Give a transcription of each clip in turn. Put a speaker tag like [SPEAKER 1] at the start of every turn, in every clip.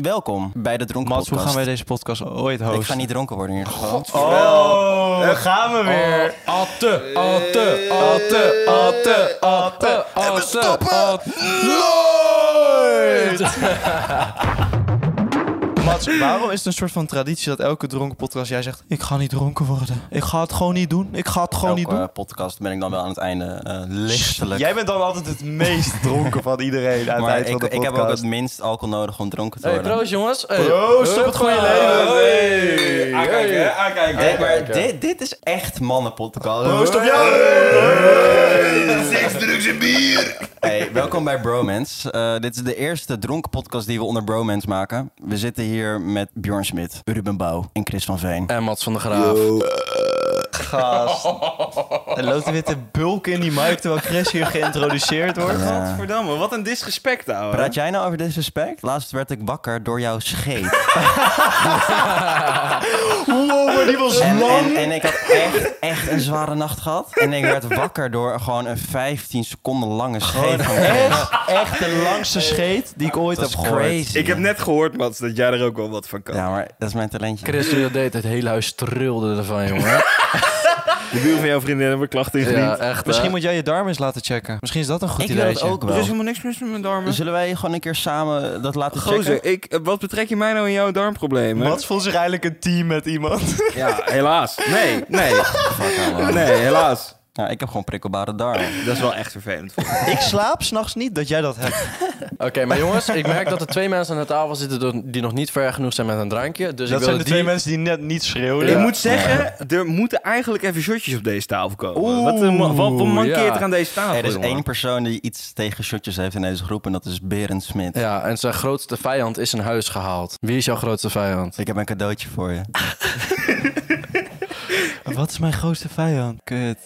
[SPEAKER 1] Welkom bij de Dronken
[SPEAKER 2] Mats, hoe
[SPEAKER 1] Podcast.
[SPEAKER 2] gaan wij deze podcast ooit hosten?
[SPEAKER 1] Ik ga niet dronken worden in ieder geval.
[SPEAKER 2] Oh, daar gaan we weer. Atte, atte, atte, atte, atte, atte, atte. Mats, waarom is het een soort van traditie dat elke dronken podcast jij zegt... Ik ga niet dronken worden. Ik ga het gewoon niet doen. Ik ga het gewoon niet
[SPEAKER 1] Elke,
[SPEAKER 2] doen.
[SPEAKER 1] eh, podcast ben ik dan wel aan het einde eh, lichtelijk.
[SPEAKER 2] Jij bent dan altijd het meest dronken van iedereen aan het
[SPEAKER 1] maar
[SPEAKER 2] eind van
[SPEAKER 1] ik,
[SPEAKER 2] de
[SPEAKER 1] ik
[SPEAKER 2] podcast.
[SPEAKER 1] heb ook het minst alcohol nodig om dronken te
[SPEAKER 3] Hey,
[SPEAKER 1] worden.
[SPEAKER 3] proost jongens. Hey.
[SPEAKER 2] Proost op het goede leven.
[SPEAKER 3] Hey.
[SPEAKER 4] Aankijken,
[SPEAKER 3] Hey.
[SPEAKER 4] hè? aankijken.
[SPEAKER 1] Dit, maar dit, dit is echt mannenpodcast.
[SPEAKER 2] Proost op jou!
[SPEAKER 1] Hey, welkom bij Bromance. Eh, dit is de eerste dronken podcast die we onder Bromance maken. We zitten hier met Bjorn Smit, Ruben Bouw en Chris van Veen.
[SPEAKER 3] En Mats van der Graaf.
[SPEAKER 2] Gast. Er loopt een witte bulk in die mic terwijl Chris hier geïntroduceerd wordt.
[SPEAKER 1] Ja.
[SPEAKER 4] Verdamme, wat een disrespect, ouwe.
[SPEAKER 1] Praat jij nou over disrespect? Laatst werd ik wakker door jouw scheet.
[SPEAKER 2] Wow, maar die was
[SPEAKER 1] en, en, en ik had echt, echt een zware nacht gehad. En ik werd wakker door gewoon een 15 seconden lange scheet. van Chris.
[SPEAKER 2] Echt de langste scheet die ik ooit
[SPEAKER 1] Dat is
[SPEAKER 2] heb gehoord.
[SPEAKER 1] crazy.
[SPEAKER 4] Ik heb net gehoord, Mats, dat jij er ook wel wat van kan.
[SPEAKER 1] Ja, maar dat is mijn talentje.
[SPEAKER 3] Chris die dat deed, het hele huis trilde ervan, jongen.
[SPEAKER 4] De buur van jouw vriendin hebben klachten ingediend.
[SPEAKER 3] ja, eh, echt.
[SPEAKER 2] Misschien
[SPEAKER 3] hè?
[SPEAKER 2] moet jij je darm eens laten checken. Misschien is dat een goed
[SPEAKER 1] ik wil
[SPEAKER 2] idee.
[SPEAKER 1] het ook
[SPEAKER 4] Er is
[SPEAKER 1] wel.
[SPEAKER 4] helemaal niks mis met mijn darmen.
[SPEAKER 1] Zullen wij gewoon een keer samen dat laten checken?
[SPEAKER 4] Gozer, ik, eh, wat betrek je mij nou in jouw darmproblemen?
[SPEAKER 2] Mats voelt zich eigenlijk een team met iemand.
[SPEAKER 4] Ja, helaas. Nee, nee,
[SPEAKER 1] Fuck, allemaal.
[SPEAKER 4] nee, helaas.
[SPEAKER 1] Nou, ik heb gewoon prikkelbare darmen.
[SPEAKER 4] Dat is wel echt vervelend.
[SPEAKER 2] ik slaap s'nachts niet dat jij dat hebt.
[SPEAKER 3] Oké, maar jongens, ik merk dat er twee mensen aan de tafel zitten do- die nog niet ver genoeg zijn met een drankje.
[SPEAKER 2] dat
[SPEAKER 3] Dus ik wil
[SPEAKER 2] zijn de
[SPEAKER 3] die...
[SPEAKER 2] twee mensen die net niet schreeuwen.
[SPEAKER 4] Ik moet zeggen, er moeten eigenlijk even shotjes op deze tafel komen. wat, eh, ma- wat, wat mankeert
[SPEAKER 3] ja.
[SPEAKER 4] er aan deze tafel,
[SPEAKER 1] Er is
[SPEAKER 4] jongen?
[SPEAKER 1] één persoon die iets tegen shotjes heeft in deze groep en dat is Berend Smit.
[SPEAKER 3] Ja, en zijn grootste vijand is een huis gehaald. Wie is jouw grootste vijand?
[SPEAKER 1] Ik heb een cadeautje voor je.
[SPEAKER 2] Wat is mijn grootste vijand? Kut.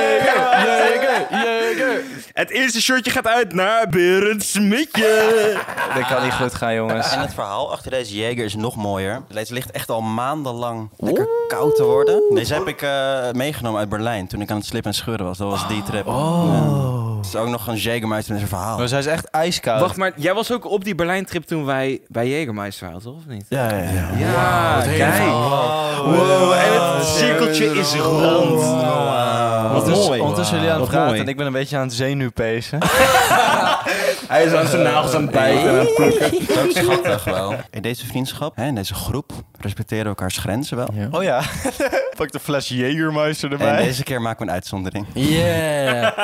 [SPEAKER 3] Jeker, jeker.
[SPEAKER 4] Het eerste shotje gaat uit naar Berend Smitje.
[SPEAKER 2] Dat kan niet goed gaan, jongens.
[SPEAKER 1] En het verhaal achter deze Jager is nog mooier. Deze ligt echt al maandenlang lekker koud te worden. Deze heb ik eh, meegenomen uit Berlijn toen ik aan het slip en scheuren was. Dat was die trip. Ja. Het is ook nog een Jägermeister met zijn verhaal.
[SPEAKER 2] Maar zij is echt ijskoud.
[SPEAKER 4] Wacht, maar jij was ook op die Berlijn-trip toen wij bij Jägermeister waren, toch? Of niet?
[SPEAKER 1] Ja, ja, ja.
[SPEAKER 4] Ja, kijk. Wow, en het cirkeltje is rond. Wat
[SPEAKER 2] Ondertussen-
[SPEAKER 4] mooi.
[SPEAKER 2] Ondertussen jullie aan het
[SPEAKER 4] Wat
[SPEAKER 2] praten
[SPEAKER 4] mooi.
[SPEAKER 2] en ik ben een beetje aan het zenuwpezen.
[SPEAKER 4] Hij is aan zijn nagels aan het bijten.
[SPEAKER 1] Dat is ook schattig wel. In deze vriendschap, hè, in deze groep, respecteren we elkaars grenzen wel.
[SPEAKER 2] Oh ja, pak de fles Jägermeister
[SPEAKER 1] En
[SPEAKER 2] erbij.
[SPEAKER 1] deze keer maken we een uitzondering.
[SPEAKER 3] Yeah.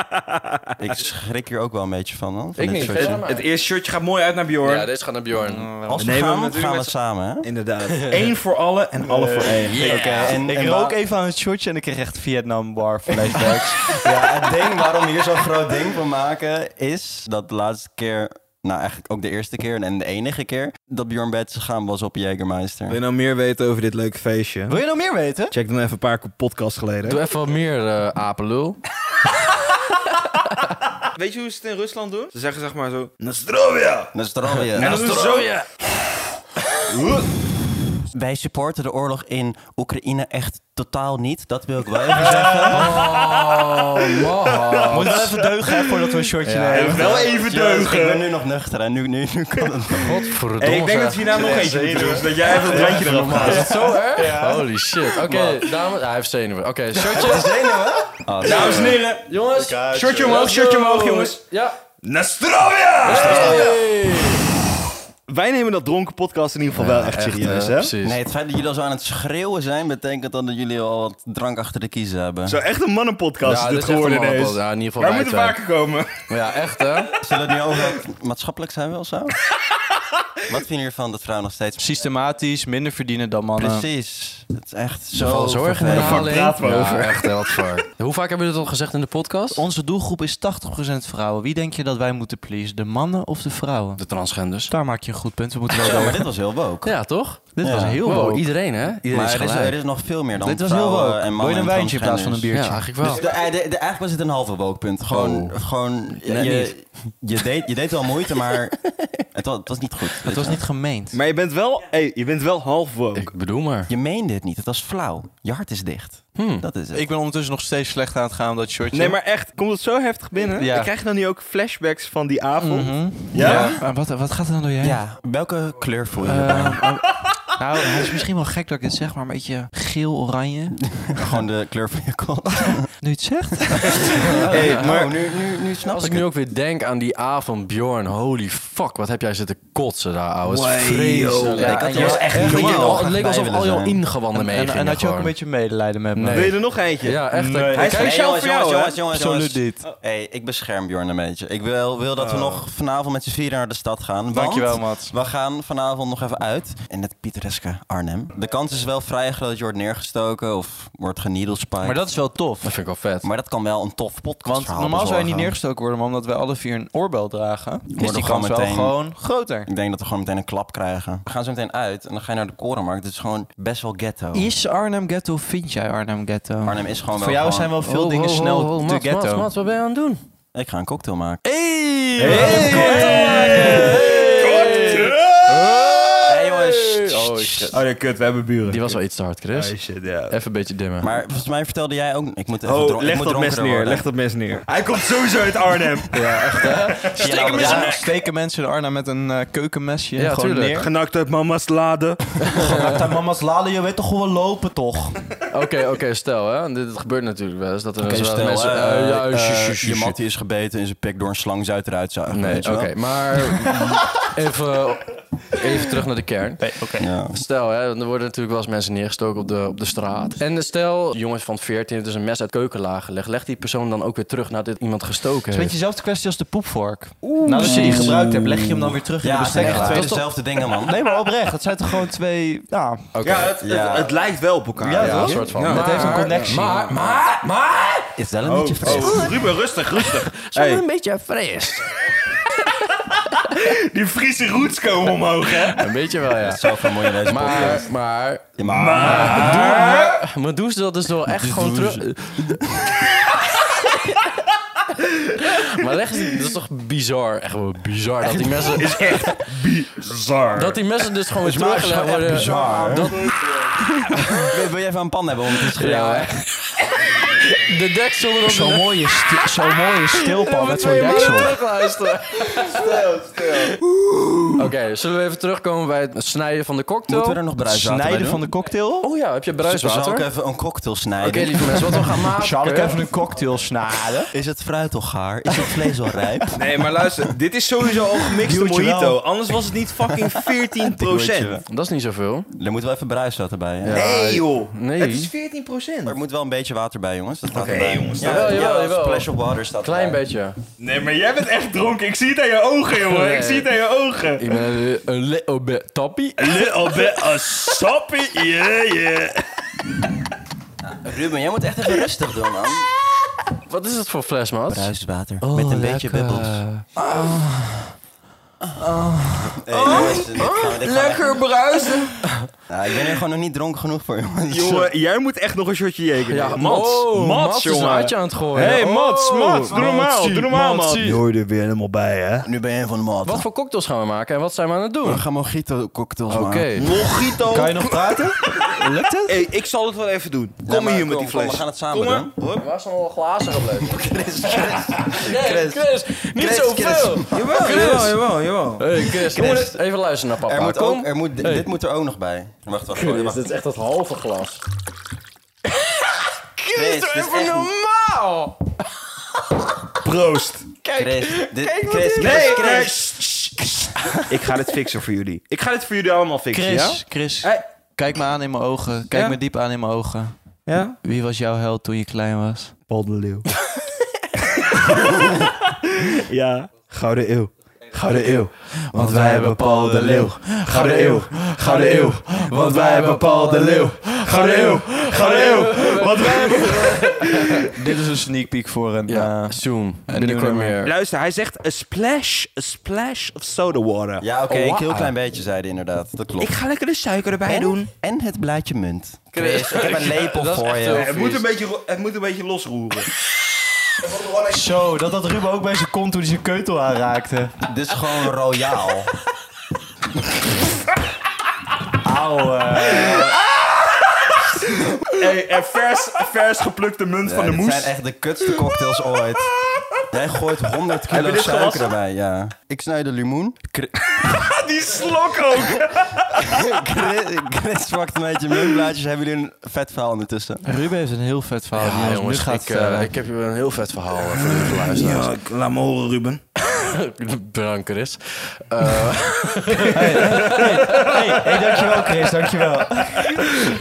[SPEAKER 1] Ik schrik hier ook wel een beetje van. hoor, van
[SPEAKER 3] Ik
[SPEAKER 1] dit
[SPEAKER 3] niet.
[SPEAKER 1] soort dingen.
[SPEAKER 3] verder maar.
[SPEAKER 4] Het eerste shirtje gaat mooi uit naar Bjorn.
[SPEAKER 3] Ja, deze gaat naar
[SPEAKER 2] Oh,
[SPEAKER 3] Bjorn.
[SPEAKER 1] Als we
[SPEAKER 4] Nee, maar
[SPEAKER 1] gaan,
[SPEAKER 4] natuurlijk
[SPEAKER 1] gaan we
[SPEAKER 4] met z'n-
[SPEAKER 1] samen. Hè?
[SPEAKER 4] Inderdaad. Eén voor alle en alle voor één.
[SPEAKER 1] Oké, en,
[SPEAKER 2] Ik
[SPEAKER 1] en
[SPEAKER 2] rook
[SPEAKER 1] waar-
[SPEAKER 2] even aan het shortje en ik kreeg echt Vietnam bar flashbacks.
[SPEAKER 1] Ja, het ding waarom we hier zo'n groot ding van maken is dat de laatste keer, nou eigenlijk ook de eerste keer en de enige keer, dat Bjorn Bets gegaan was op
[SPEAKER 4] Wil je
[SPEAKER 1] Jägermeister.
[SPEAKER 4] nou meer weten over dit leuke feestje?
[SPEAKER 2] Wil je nog meer weten?
[SPEAKER 4] Check dan even een paar podcasts geleden.
[SPEAKER 3] Doe even wat meer eh, apenlul.
[SPEAKER 4] Ah, Weet je hoe ze het in Rusland doen? Ze zeggen zeg maar zo... Nostrovia!
[SPEAKER 1] Dat is er alweer.
[SPEAKER 4] En Nostrovia!
[SPEAKER 1] Wij supporten de oorlog in Oekraïne echt totaal niet. Dat wil ik wel even zeggen.
[SPEAKER 3] Oh, man.
[SPEAKER 2] Moet wel even deugen hè, voordat we een shortje
[SPEAKER 3] Ja.
[SPEAKER 2] nemen.
[SPEAKER 4] Wel even
[SPEAKER 1] Jongens, Ik
[SPEAKER 4] deugen.
[SPEAKER 1] ben nu nog nuchter en nu, nu, nu kan het nog.
[SPEAKER 3] Godverdomme.
[SPEAKER 4] Hey, ik denk dat
[SPEAKER 3] zeg.
[SPEAKER 4] we hierna Nou, nog eentje moeten doen. Zodat jij even het randje eraf gaat.
[SPEAKER 3] Is het zo erg? Holy shit. Oké, dames. hij heeft zenuwen. Oké, shirtje.
[SPEAKER 1] Ah,
[SPEAKER 4] Dames en heren,
[SPEAKER 3] jongens.
[SPEAKER 4] shirtje omhoog, shirtje omhoog, jongens.
[SPEAKER 3] Ja.
[SPEAKER 4] Nostrovia! Wij nemen dat dronken podcast in ieder geval wel echt serieus, hè?
[SPEAKER 3] eh, Precies.
[SPEAKER 1] Nee, het feit dat jullie al zo aan het schreeuwen zijn, betekent dan dat jullie al wat drank achter de kiezen hebben.
[SPEAKER 4] Zo echt een mannenpodcast
[SPEAKER 3] ja,
[SPEAKER 4] is
[SPEAKER 3] dit
[SPEAKER 4] dit
[SPEAKER 3] is echt een
[SPEAKER 4] geworden
[SPEAKER 3] mannenpod.
[SPEAKER 4] ineens.
[SPEAKER 3] Ja, in ieder geval
[SPEAKER 4] Wij
[SPEAKER 3] wij
[SPEAKER 4] moeten
[SPEAKER 3] twee.
[SPEAKER 4] vaker komen.
[SPEAKER 3] Maar Ja, echt hè.
[SPEAKER 1] Zullen we het nu over maatschappelijk zijn wel zo? Wat vinden jullie ervan dat vrouwen nog steeds...
[SPEAKER 2] Systematisch minder verdienen dan mannen.
[SPEAKER 1] Precies. Het is echt zo
[SPEAKER 3] Zoveel zorgen en
[SPEAKER 1] vervelend.
[SPEAKER 3] herhaling.
[SPEAKER 4] praten we
[SPEAKER 3] Ja,
[SPEAKER 4] over?
[SPEAKER 3] echt hè, wat voor. Hoe vaak hebben we dit al gezegd in de podcast?
[SPEAKER 2] Onze doelgroep is 80% vrouwen. Wie denk je dat wij moeten pleasen? De mannen of de vrouwen?
[SPEAKER 3] De transgenders.
[SPEAKER 2] Daar maak je een goed punt. We moeten wel
[SPEAKER 1] Ja, maar
[SPEAKER 2] deugen.
[SPEAKER 1] dit was heel woke.
[SPEAKER 3] Ja, toch?
[SPEAKER 2] Dit was heel
[SPEAKER 3] Wow,
[SPEAKER 2] woke.
[SPEAKER 3] iedereen hè? Iedereen
[SPEAKER 1] maar
[SPEAKER 3] is
[SPEAKER 1] er is,
[SPEAKER 3] gelijk.
[SPEAKER 1] er is nog veel meer dan
[SPEAKER 2] Dit was heel
[SPEAKER 1] vrouwen
[SPEAKER 2] woke.
[SPEAKER 1] en
[SPEAKER 2] Wil
[SPEAKER 1] mannen
[SPEAKER 2] je een
[SPEAKER 1] en
[SPEAKER 2] wijntje in plaats van een
[SPEAKER 1] transgenders.
[SPEAKER 2] biertje? Oh.
[SPEAKER 3] Ja, eigenlijk wel.
[SPEAKER 1] Dus de, eh, de- de- eigenlijk was het een halve wokepunt. Gewoon, gewoon
[SPEAKER 3] Net
[SPEAKER 1] je, je, deed, je deed wel moeite, maar het was, het was niet goed.
[SPEAKER 2] Het was niet gemeend.
[SPEAKER 4] Maar je bent wel, hey, je bent wel half woke.
[SPEAKER 3] Ik bedoel maar.
[SPEAKER 1] Je meende het niet, het was flauw. Je Je hart is dicht. Dat is het.
[SPEAKER 2] Hmm. Ik ben ondertussen nog steeds slecht aan het gaan om dat shirtje.
[SPEAKER 4] Nee, maar echt, komt het zo heftig binnen?
[SPEAKER 2] Ja.
[SPEAKER 4] Ik krijg dan nu ook flashbacks van die avond.
[SPEAKER 2] Mhm.
[SPEAKER 4] Ja?
[SPEAKER 2] Maar wat, wat gaat er dan door je heen?
[SPEAKER 1] ja, welke kleur voel je?
[SPEAKER 2] Eh, oh, nou, het is misschien wel gek dat ik het zeg, maar een beetje geel-oranje.
[SPEAKER 1] Gewoon de kleur van je kont.
[SPEAKER 2] Nu het zegt?
[SPEAKER 4] Hey, maar-
[SPEAKER 1] Oh, nu, nu, nu snap
[SPEAKER 3] Als
[SPEAKER 1] ik
[SPEAKER 3] ik nu ook weer denk aan die avond, Bjorn, holy fuck, wat heb jij zitten kotsen daar, ouwe. Het
[SPEAKER 4] Wai,
[SPEAKER 3] is vreselijk.
[SPEAKER 4] joh.
[SPEAKER 1] Ja,
[SPEAKER 3] Ja,
[SPEAKER 1] ik had
[SPEAKER 3] en
[SPEAKER 1] hier
[SPEAKER 3] je-
[SPEAKER 1] was echt niet
[SPEAKER 3] je-
[SPEAKER 1] normaal.
[SPEAKER 3] Het leek alsof al jouw
[SPEAKER 1] Zijn.
[SPEAKER 3] ingewanden
[SPEAKER 2] En, en, had
[SPEAKER 3] meegingen
[SPEAKER 2] je ook
[SPEAKER 3] gewoon.
[SPEAKER 2] een beetje medelijden met me?
[SPEAKER 3] Nee.
[SPEAKER 4] Wil je er nog eentje?
[SPEAKER 3] Ja, echt.
[SPEAKER 2] Nee.
[SPEAKER 3] ik-
[SPEAKER 4] Hij
[SPEAKER 3] kijk,
[SPEAKER 4] is speciaal
[SPEAKER 1] jongens,
[SPEAKER 4] voor jou,
[SPEAKER 1] jongens, jongens,
[SPEAKER 4] hè?
[SPEAKER 1] jongens, Oh,
[SPEAKER 2] Absoluut niet.
[SPEAKER 1] Hey, ik bescherm Bjorn een beetje. Ik wil, wil dat we
[SPEAKER 4] Oh.
[SPEAKER 1] nog vanavond met z'n vieren naar de stad gaan. want
[SPEAKER 2] Dankjewel, Mats.
[SPEAKER 1] We gaan vanavond nog even uit in het pietereske Arnhem. De kans is wel vrij groot dat je wordt neergestoken of wordt geniedelspiked.
[SPEAKER 2] Maar dat is wel tof.
[SPEAKER 3] Dat vind ik wel vet.
[SPEAKER 1] maar dat kan wel een tof podcast
[SPEAKER 2] Want normaal zou je niet neergestoken worden, maar omdat wij alle vier een oorbel dragen, is
[SPEAKER 1] Worden
[SPEAKER 2] die
[SPEAKER 1] we
[SPEAKER 2] kans
[SPEAKER 1] gewoon
[SPEAKER 2] wel
[SPEAKER 1] meteen-
[SPEAKER 2] gewoon groter.
[SPEAKER 1] Ik denk dat we gewoon meteen een klap krijgen. We gaan zo meteen uit en dan ga je naar de korenmarkt. Het is gewoon best wel ghetto.
[SPEAKER 2] Is Arnhem Ghetto, vind jij Arnhem Ghetto? Oh,
[SPEAKER 1] Arnhem is gewoon
[SPEAKER 2] Voor
[SPEAKER 1] wel
[SPEAKER 2] jou
[SPEAKER 1] gewoon-
[SPEAKER 2] zijn wel veel
[SPEAKER 3] Ho,
[SPEAKER 2] dingen
[SPEAKER 3] ho, ho,
[SPEAKER 2] snel
[SPEAKER 3] ho,
[SPEAKER 2] te
[SPEAKER 3] Mats,
[SPEAKER 2] ghetto.
[SPEAKER 3] Mats, Mats, wat ben je aan het doen?
[SPEAKER 1] Ik ga een cocktail maken.
[SPEAKER 2] Hey!
[SPEAKER 4] Hey!
[SPEAKER 1] Hey jongens!
[SPEAKER 3] Oh shit.
[SPEAKER 4] Oh ja, kut, we hebben buren.
[SPEAKER 3] Die was wel iets te hard, Chris.
[SPEAKER 4] Oh shit, ja.
[SPEAKER 3] Even een beetje dimmen.
[SPEAKER 1] Maar volgens mij vertelde jij ook... Ik moet even dron- ik
[SPEAKER 4] Oh, leg
[SPEAKER 1] moet eh,
[SPEAKER 4] dat mes
[SPEAKER 1] dronkerder
[SPEAKER 4] neer,
[SPEAKER 1] worden.
[SPEAKER 4] leg dat mes neer. Hij komt sowieso uit Arnhem.
[SPEAKER 1] Zie je nou wat-
[SPEAKER 2] Ja, steken mensen in Arnhem met een eh, keukenmesje
[SPEAKER 3] Ja,
[SPEAKER 2] gewoon
[SPEAKER 3] tuurlijk.
[SPEAKER 2] neer?
[SPEAKER 4] Genakt uit mama's laden.
[SPEAKER 2] Genakt mama's laden, je weet toch gewoon lopen toch?
[SPEAKER 3] Oké, oké, stel hè. Dit het gebeurt natuurlijk wel eens. Dat er
[SPEAKER 1] Oké,
[SPEAKER 3] wel eens
[SPEAKER 1] stel,
[SPEAKER 3] mensen...
[SPEAKER 1] eh,
[SPEAKER 3] eh, ja,
[SPEAKER 1] eh,
[SPEAKER 3] shu, shu, shu,
[SPEAKER 1] je
[SPEAKER 3] shu.
[SPEAKER 1] mat die is gebeten in zijn pik door een slang zuid eruit zuigen.
[SPEAKER 3] Nee,
[SPEAKER 1] weet
[SPEAKER 3] oké.
[SPEAKER 1] je wel?
[SPEAKER 3] maar even, even terug naar de kern.
[SPEAKER 1] Ja.
[SPEAKER 3] Stel, hè, er worden natuurlijk wel eens mensen neergestoken op de, op de straat. En eh, stel, jongens van 14, het is een mes uit keukenlaag gelegd. Leg die persoon dan ook weer terug nadat iemand gestoken
[SPEAKER 2] Het is
[SPEAKER 3] heeft.
[SPEAKER 2] een beetje dezelfde kwestie als de poepvork. Nadat je die gebruikt hebt, leg je hem dan weer terug in
[SPEAKER 1] Ja,
[SPEAKER 2] de
[SPEAKER 1] het zijn
[SPEAKER 2] bestek.
[SPEAKER 1] echt
[SPEAKER 2] Dat
[SPEAKER 1] twee
[SPEAKER 2] is toch-
[SPEAKER 1] dezelfde dingen, man.
[SPEAKER 2] Nee, maar oprecht. Het zijn toch gewoon twee... Nou,
[SPEAKER 3] Oké.
[SPEAKER 4] Ja, het, het-
[SPEAKER 1] Ja.
[SPEAKER 4] het lijkt wel op elkaar.
[SPEAKER 2] Ja,
[SPEAKER 3] Ja,
[SPEAKER 2] toch?
[SPEAKER 3] een soort van.
[SPEAKER 2] Ja, het heeft een connectie.
[SPEAKER 3] Maar, maar, maar...
[SPEAKER 1] Is dat een
[SPEAKER 4] Oh,
[SPEAKER 1] beetje vreemd?
[SPEAKER 4] oh, Ruben, rustig, rustig.
[SPEAKER 3] Zo
[SPEAKER 4] Hey.
[SPEAKER 3] een beetje fris.
[SPEAKER 4] Die Friese roots komen omhoog, hè?
[SPEAKER 3] Een beetje wel, ja.
[SPEAKER 1] Zo vermoeien deze
[SPEAKER 3] Maar,
[SPEAKER 1] podcast.
[SPEAKER 3] maar...
[SPEAKER 1] Maar...
[SPEAKER 3] Maar doen ze dat dus wel echt gewoon terug... maar leg eens, dat is toch bizar, echt wel bizar, dat die mensen...
[SPEAKER 4] Bizar.
[SPEAKER 3] Dat die mensen dus gewoon weer
[SPEAKER 1] maar het is
[SPEAKER 3] teruggelegd
[SPEAKER 1] gewoon echt
[SPEAKER 3] worden.
[SPEAKER 1] bizar.
[SPEAKER 3] Dat,
[SPEAKER 1] Wil, wil je even een pan hebben om te schreeuwen?
[SPEAKER 3] ja. De deksel erop.
[SPEAKER 2] Zo'n mooie, sti- zo'n mooie stilpan met zo'n deksel.
[SPEAKER 3] luisteren. Stil, stil. Oké, zullen we even terugkomen bij het snijden van de cocktail?
[SPEAKER 1] Moeten we er nog bruiswater bij
[SPEAKER 2] Snijden
[SPEAKER 1] doen?
[SPEAKER 2] van de cocktail?
[SPEAKER 3] Oh ja, heb je bruiswater?
[SPEAKER 1] Zal ik
[SPEAKER 3] Oké,
[SPEAKER 1] even een cocktail snijden?
[SPEAKER 3] lieve mensen, wat we gaan maken...
[SPEAKER 2] Zal ik even een cocktail snijden?
[SPEAKER 1] Is het fruit al gaar? Is het vlees al rijp?
[SPEAKER 4] Nee, maar luister, dit is sowieso al gemixte
[SPEAKER 2] Duwtje wel.
[SPEAKER 4] mojito. Anders was het niet fucking 14 procent.
[SPEAKER 3] Dat is niet zoveel.
[SPEAKER 1] Er moet wel even bruiswater bij, hè?
[SPEAKER 3] Ja.
[SPEAKER 4] Nee, joh.
[SPEAKER 3] Nee.
[SPEAKER 4] Het is 14 procent.
[SPEAKER 1] Maar er moet wel een beetje water bij, jongens. Dat staat
[SPEAKER 4] Oké,
[SPEAKER 1] erbij.
[SPEAKER 4] jongens,
[SPEAKER 1] Ja,
[SPEAKER 3] staat
[SPEAKER 1] ja,
[SPEAKER 3] erbij. Jawel,
[SPEAKER 1] Splash of water staat
[SPEAKER 3] Klein
[SPEAKER 1] erbij.
[SPEAKER 3] beetje.
[SPEAKER 4] Nee, maar jij bent echt dronken. Ik zie het aan je ogen, jongen.
[SPEAKER 3] Nee.
[SPEAKER 4] Ik zie het aan je ogen.
[SPEAKER 3] Ik ben een- een little bit tappie.
[SPEAKER 4] Little bit of soppy, yeah, yeah.
[SPEAKER 1] Ruben, jij moet echt even rustig doen, man.
[SPEAKER 3] Wat is het voor fles, maat?
[SPEAKER 1] Bruiswater. met een beetje bubbels. Hey, jongens, dit gaan we- dit gaan we echt-
[SPEAKER 3] bruisen.
[SPEAKER 1] Ja, ik ben hier gewoon nog niet dronken genoeg voor, jongens.
[SPEAKER 4] Jongen, jij moet echt nog een shotje jagen.
[SPEAKER 3] Ja,
[SPEAKER 4] Mats,
[SPEAKER 3] oh,
[SPEAKER 4] Mats,
[SPEAKER 3] is een
[SPEAKER 4] jongen.
[SPEAKER 3] hartje aan het gooien.
[SPEAKER 4] Hey, Mats,
[SPEAKER 3] Oh,
[SPEAKER 4] Mats, doe normaal,
[SPEAKER 3] Matsie,
[SPEAKER 4] doe normaal, man.
[SPEAKER 3] Matsie.
[SPEAKER 5] hoort er weer helemaal bij, hè?
[SPEAKER 1] Nu ben je van de mat.
[SPEAKER 3] Wat voor cocktails gaan we maken en wat zijn we aan het doen?
[SPEAKER 1] We gaan mojito cocktails
[SPEAKER 3] Oké.
[SPEAKER 4] Mojito.
[SPEAKER 2] Kan je nog praten? Lukt het?
[SPEAKER 4] Hey, ik zal het wel even doen. Kom
[SPEAKER 1] maar
[SPEAKER 4] hier
[SPEAKER 1] kom,
[SPEAKER 4] met die
[SPEAKER 1] kom,
[SPEAKER 4] fles.
[SPEAKER 1] we gaan het samen
[SPEAKER 4] Kom maar.
[SPEAKER 1] doen.
[SPEAKER 4] Hop.
[SPEAKER 3] Waar zijn al glazen gebleven?
[SPEAKER 1] Chris, Chris.
[SPEAKER 3] Nee, Chris, niet
[SPEAKER 1] Chris,
[SPEAKER 3] zoveel.
[SPEAKER 4] Jawel,
[SPEAKER 3] Chris.
[SPEAKER 4] jawel, jawel, jawel.
[SPEAKER 3] Hey, Chris, jongen, even luisteren naar papa.
[SPEAKER 1] Er moet
[SPEAKER 3] Ah, Kom.
[SPEAKER 1] ook, er moet, dit- Dit moet er ook nog bij. Wacht, wacht, wacht.
[SPEAKER 3] Chris,
[SPEAKER 1] wacht.
[SPEAKER 3] dit is echt het halve glas.
[SPEAKER 1] Chris, dit is echt-
[SPEAKER 3] normaal.
[SPEAKER 4] Proost.
[SPEAKER 1] Chris, dit- Chris,
[SPEAKER 4] Nee,
[SPEAKER 1] Chris,
[SPEAKER 4] eh, nee.
[SPEAKER 1] Chris.
[SPEAKER 4] sst, sst, sst. Ik ga dit fixen voor jullie. Ik ga dit voor jullie allemaal fixen,
[SPEAKER 2] Chris, Chris,
[SPEAKER 4] Hey.
[SPEAKER 2] kijk me aan in mijn ogen. Kijk
[SPEAKER 4] Ja?
[SPEAKER 2] me diep aan in mijn ogen.
[SPEAKER 4] ja? Ja?
[SPEAKER 2] Wie was jouw held toen je klein was?
[SPEAKER 5] Paul de Leeuw. ja. Gouden eeuw. Gouden eeuw. Want wij hebben Paul de Leeuw. Gouden eeuw. Gouden eeuw. Want wij hebben Paul de Leeuw. Gouden eeuw. Gouden eeuw. Want wij hebben...
[SPEAKER 2] Dit is een sneak peek voor een... eh,
[SPEAKER 3] Ja, zoom.
[SPEAKER 2] nieuw
[SPEAKER 3] Binnenkort
[SPEAKER 2] nummer.
[SPEAKER 3] meer.
[SPEAKER 4] Luister, hij zegt a splash, a splash of soda water.
[SPEAKER 1] Ja, oké,
[SPEAKER 3] Oh,
[SPEAKER 1] een
[SPEAKER 3] wow.
[SPEAKER 1] heel klein beetje zeiden inderdaad. Dat klopt.
[SPEAKER 4] Ik ga lekker de suiker erbij
[SPEAKER 1] en,
[SPEAKER 4] doen.
[SPEAKER 1] en het blaadje munt. Chris, ik heb een lepel
[SPEAKER 3] Dat is
[SPEAKER 1] voor
[SPEAKER 3] echt
[SPEAKER 1] je.
[SPEAKER 3] heel- vies.
[SPEAKER 4] beetje, ro- het moet een beetje losroeren.
[SPEAKER 2] Zo, dat had Ruben ook bij zijn kont toen hij zijn keutel aanraakte.
[SPEAKER 1] Dit is gewoon royaal.
[SPEAKER 2] Auw.
[SPEAKER 4] Hey, en vers, vers geplukte munt van de
[SPEAKER 1] dit
[SPEAKER 4] moes.
[SPEAKER 1] zijn echt de kutste cocktails ooit. Jij gooit 100 kilo
[SPEAKER 4] dit
[SPEAKER 1] suiker
[SPEAKER 4] gewassen?
[SPEAKER 1] erbij, ja. Ik snijd de limoen. Cri-
[SPEAKER 4] Die slok ook.
[SPEAKER 1] Chris, Chris pakt een beetje muntblaadjes. Hebben jullie een vet verhaal ondertussen?
[SPEAKER 2] Ruben heeft een heel vet verhaal. die
[SPEAKER 3] Ja,
[SPEAKER 2] ons
[SPEAKER 3] jongens,
[SPEAKER 2] nu gaat
[SPEAKER 3] ik, eh,
[SPEAKER 2] vertellen.
[SPEAKER 3] ik heb hier een heel vet verhaal eh, voor jullie geluisterd.
[SPEAKER 4] laat me horen, Ruben.
[SPEAKER 3] Bedankt, Chris.
[SPEAKER 2] hey, hey, dankjewel Chris, dankjewel.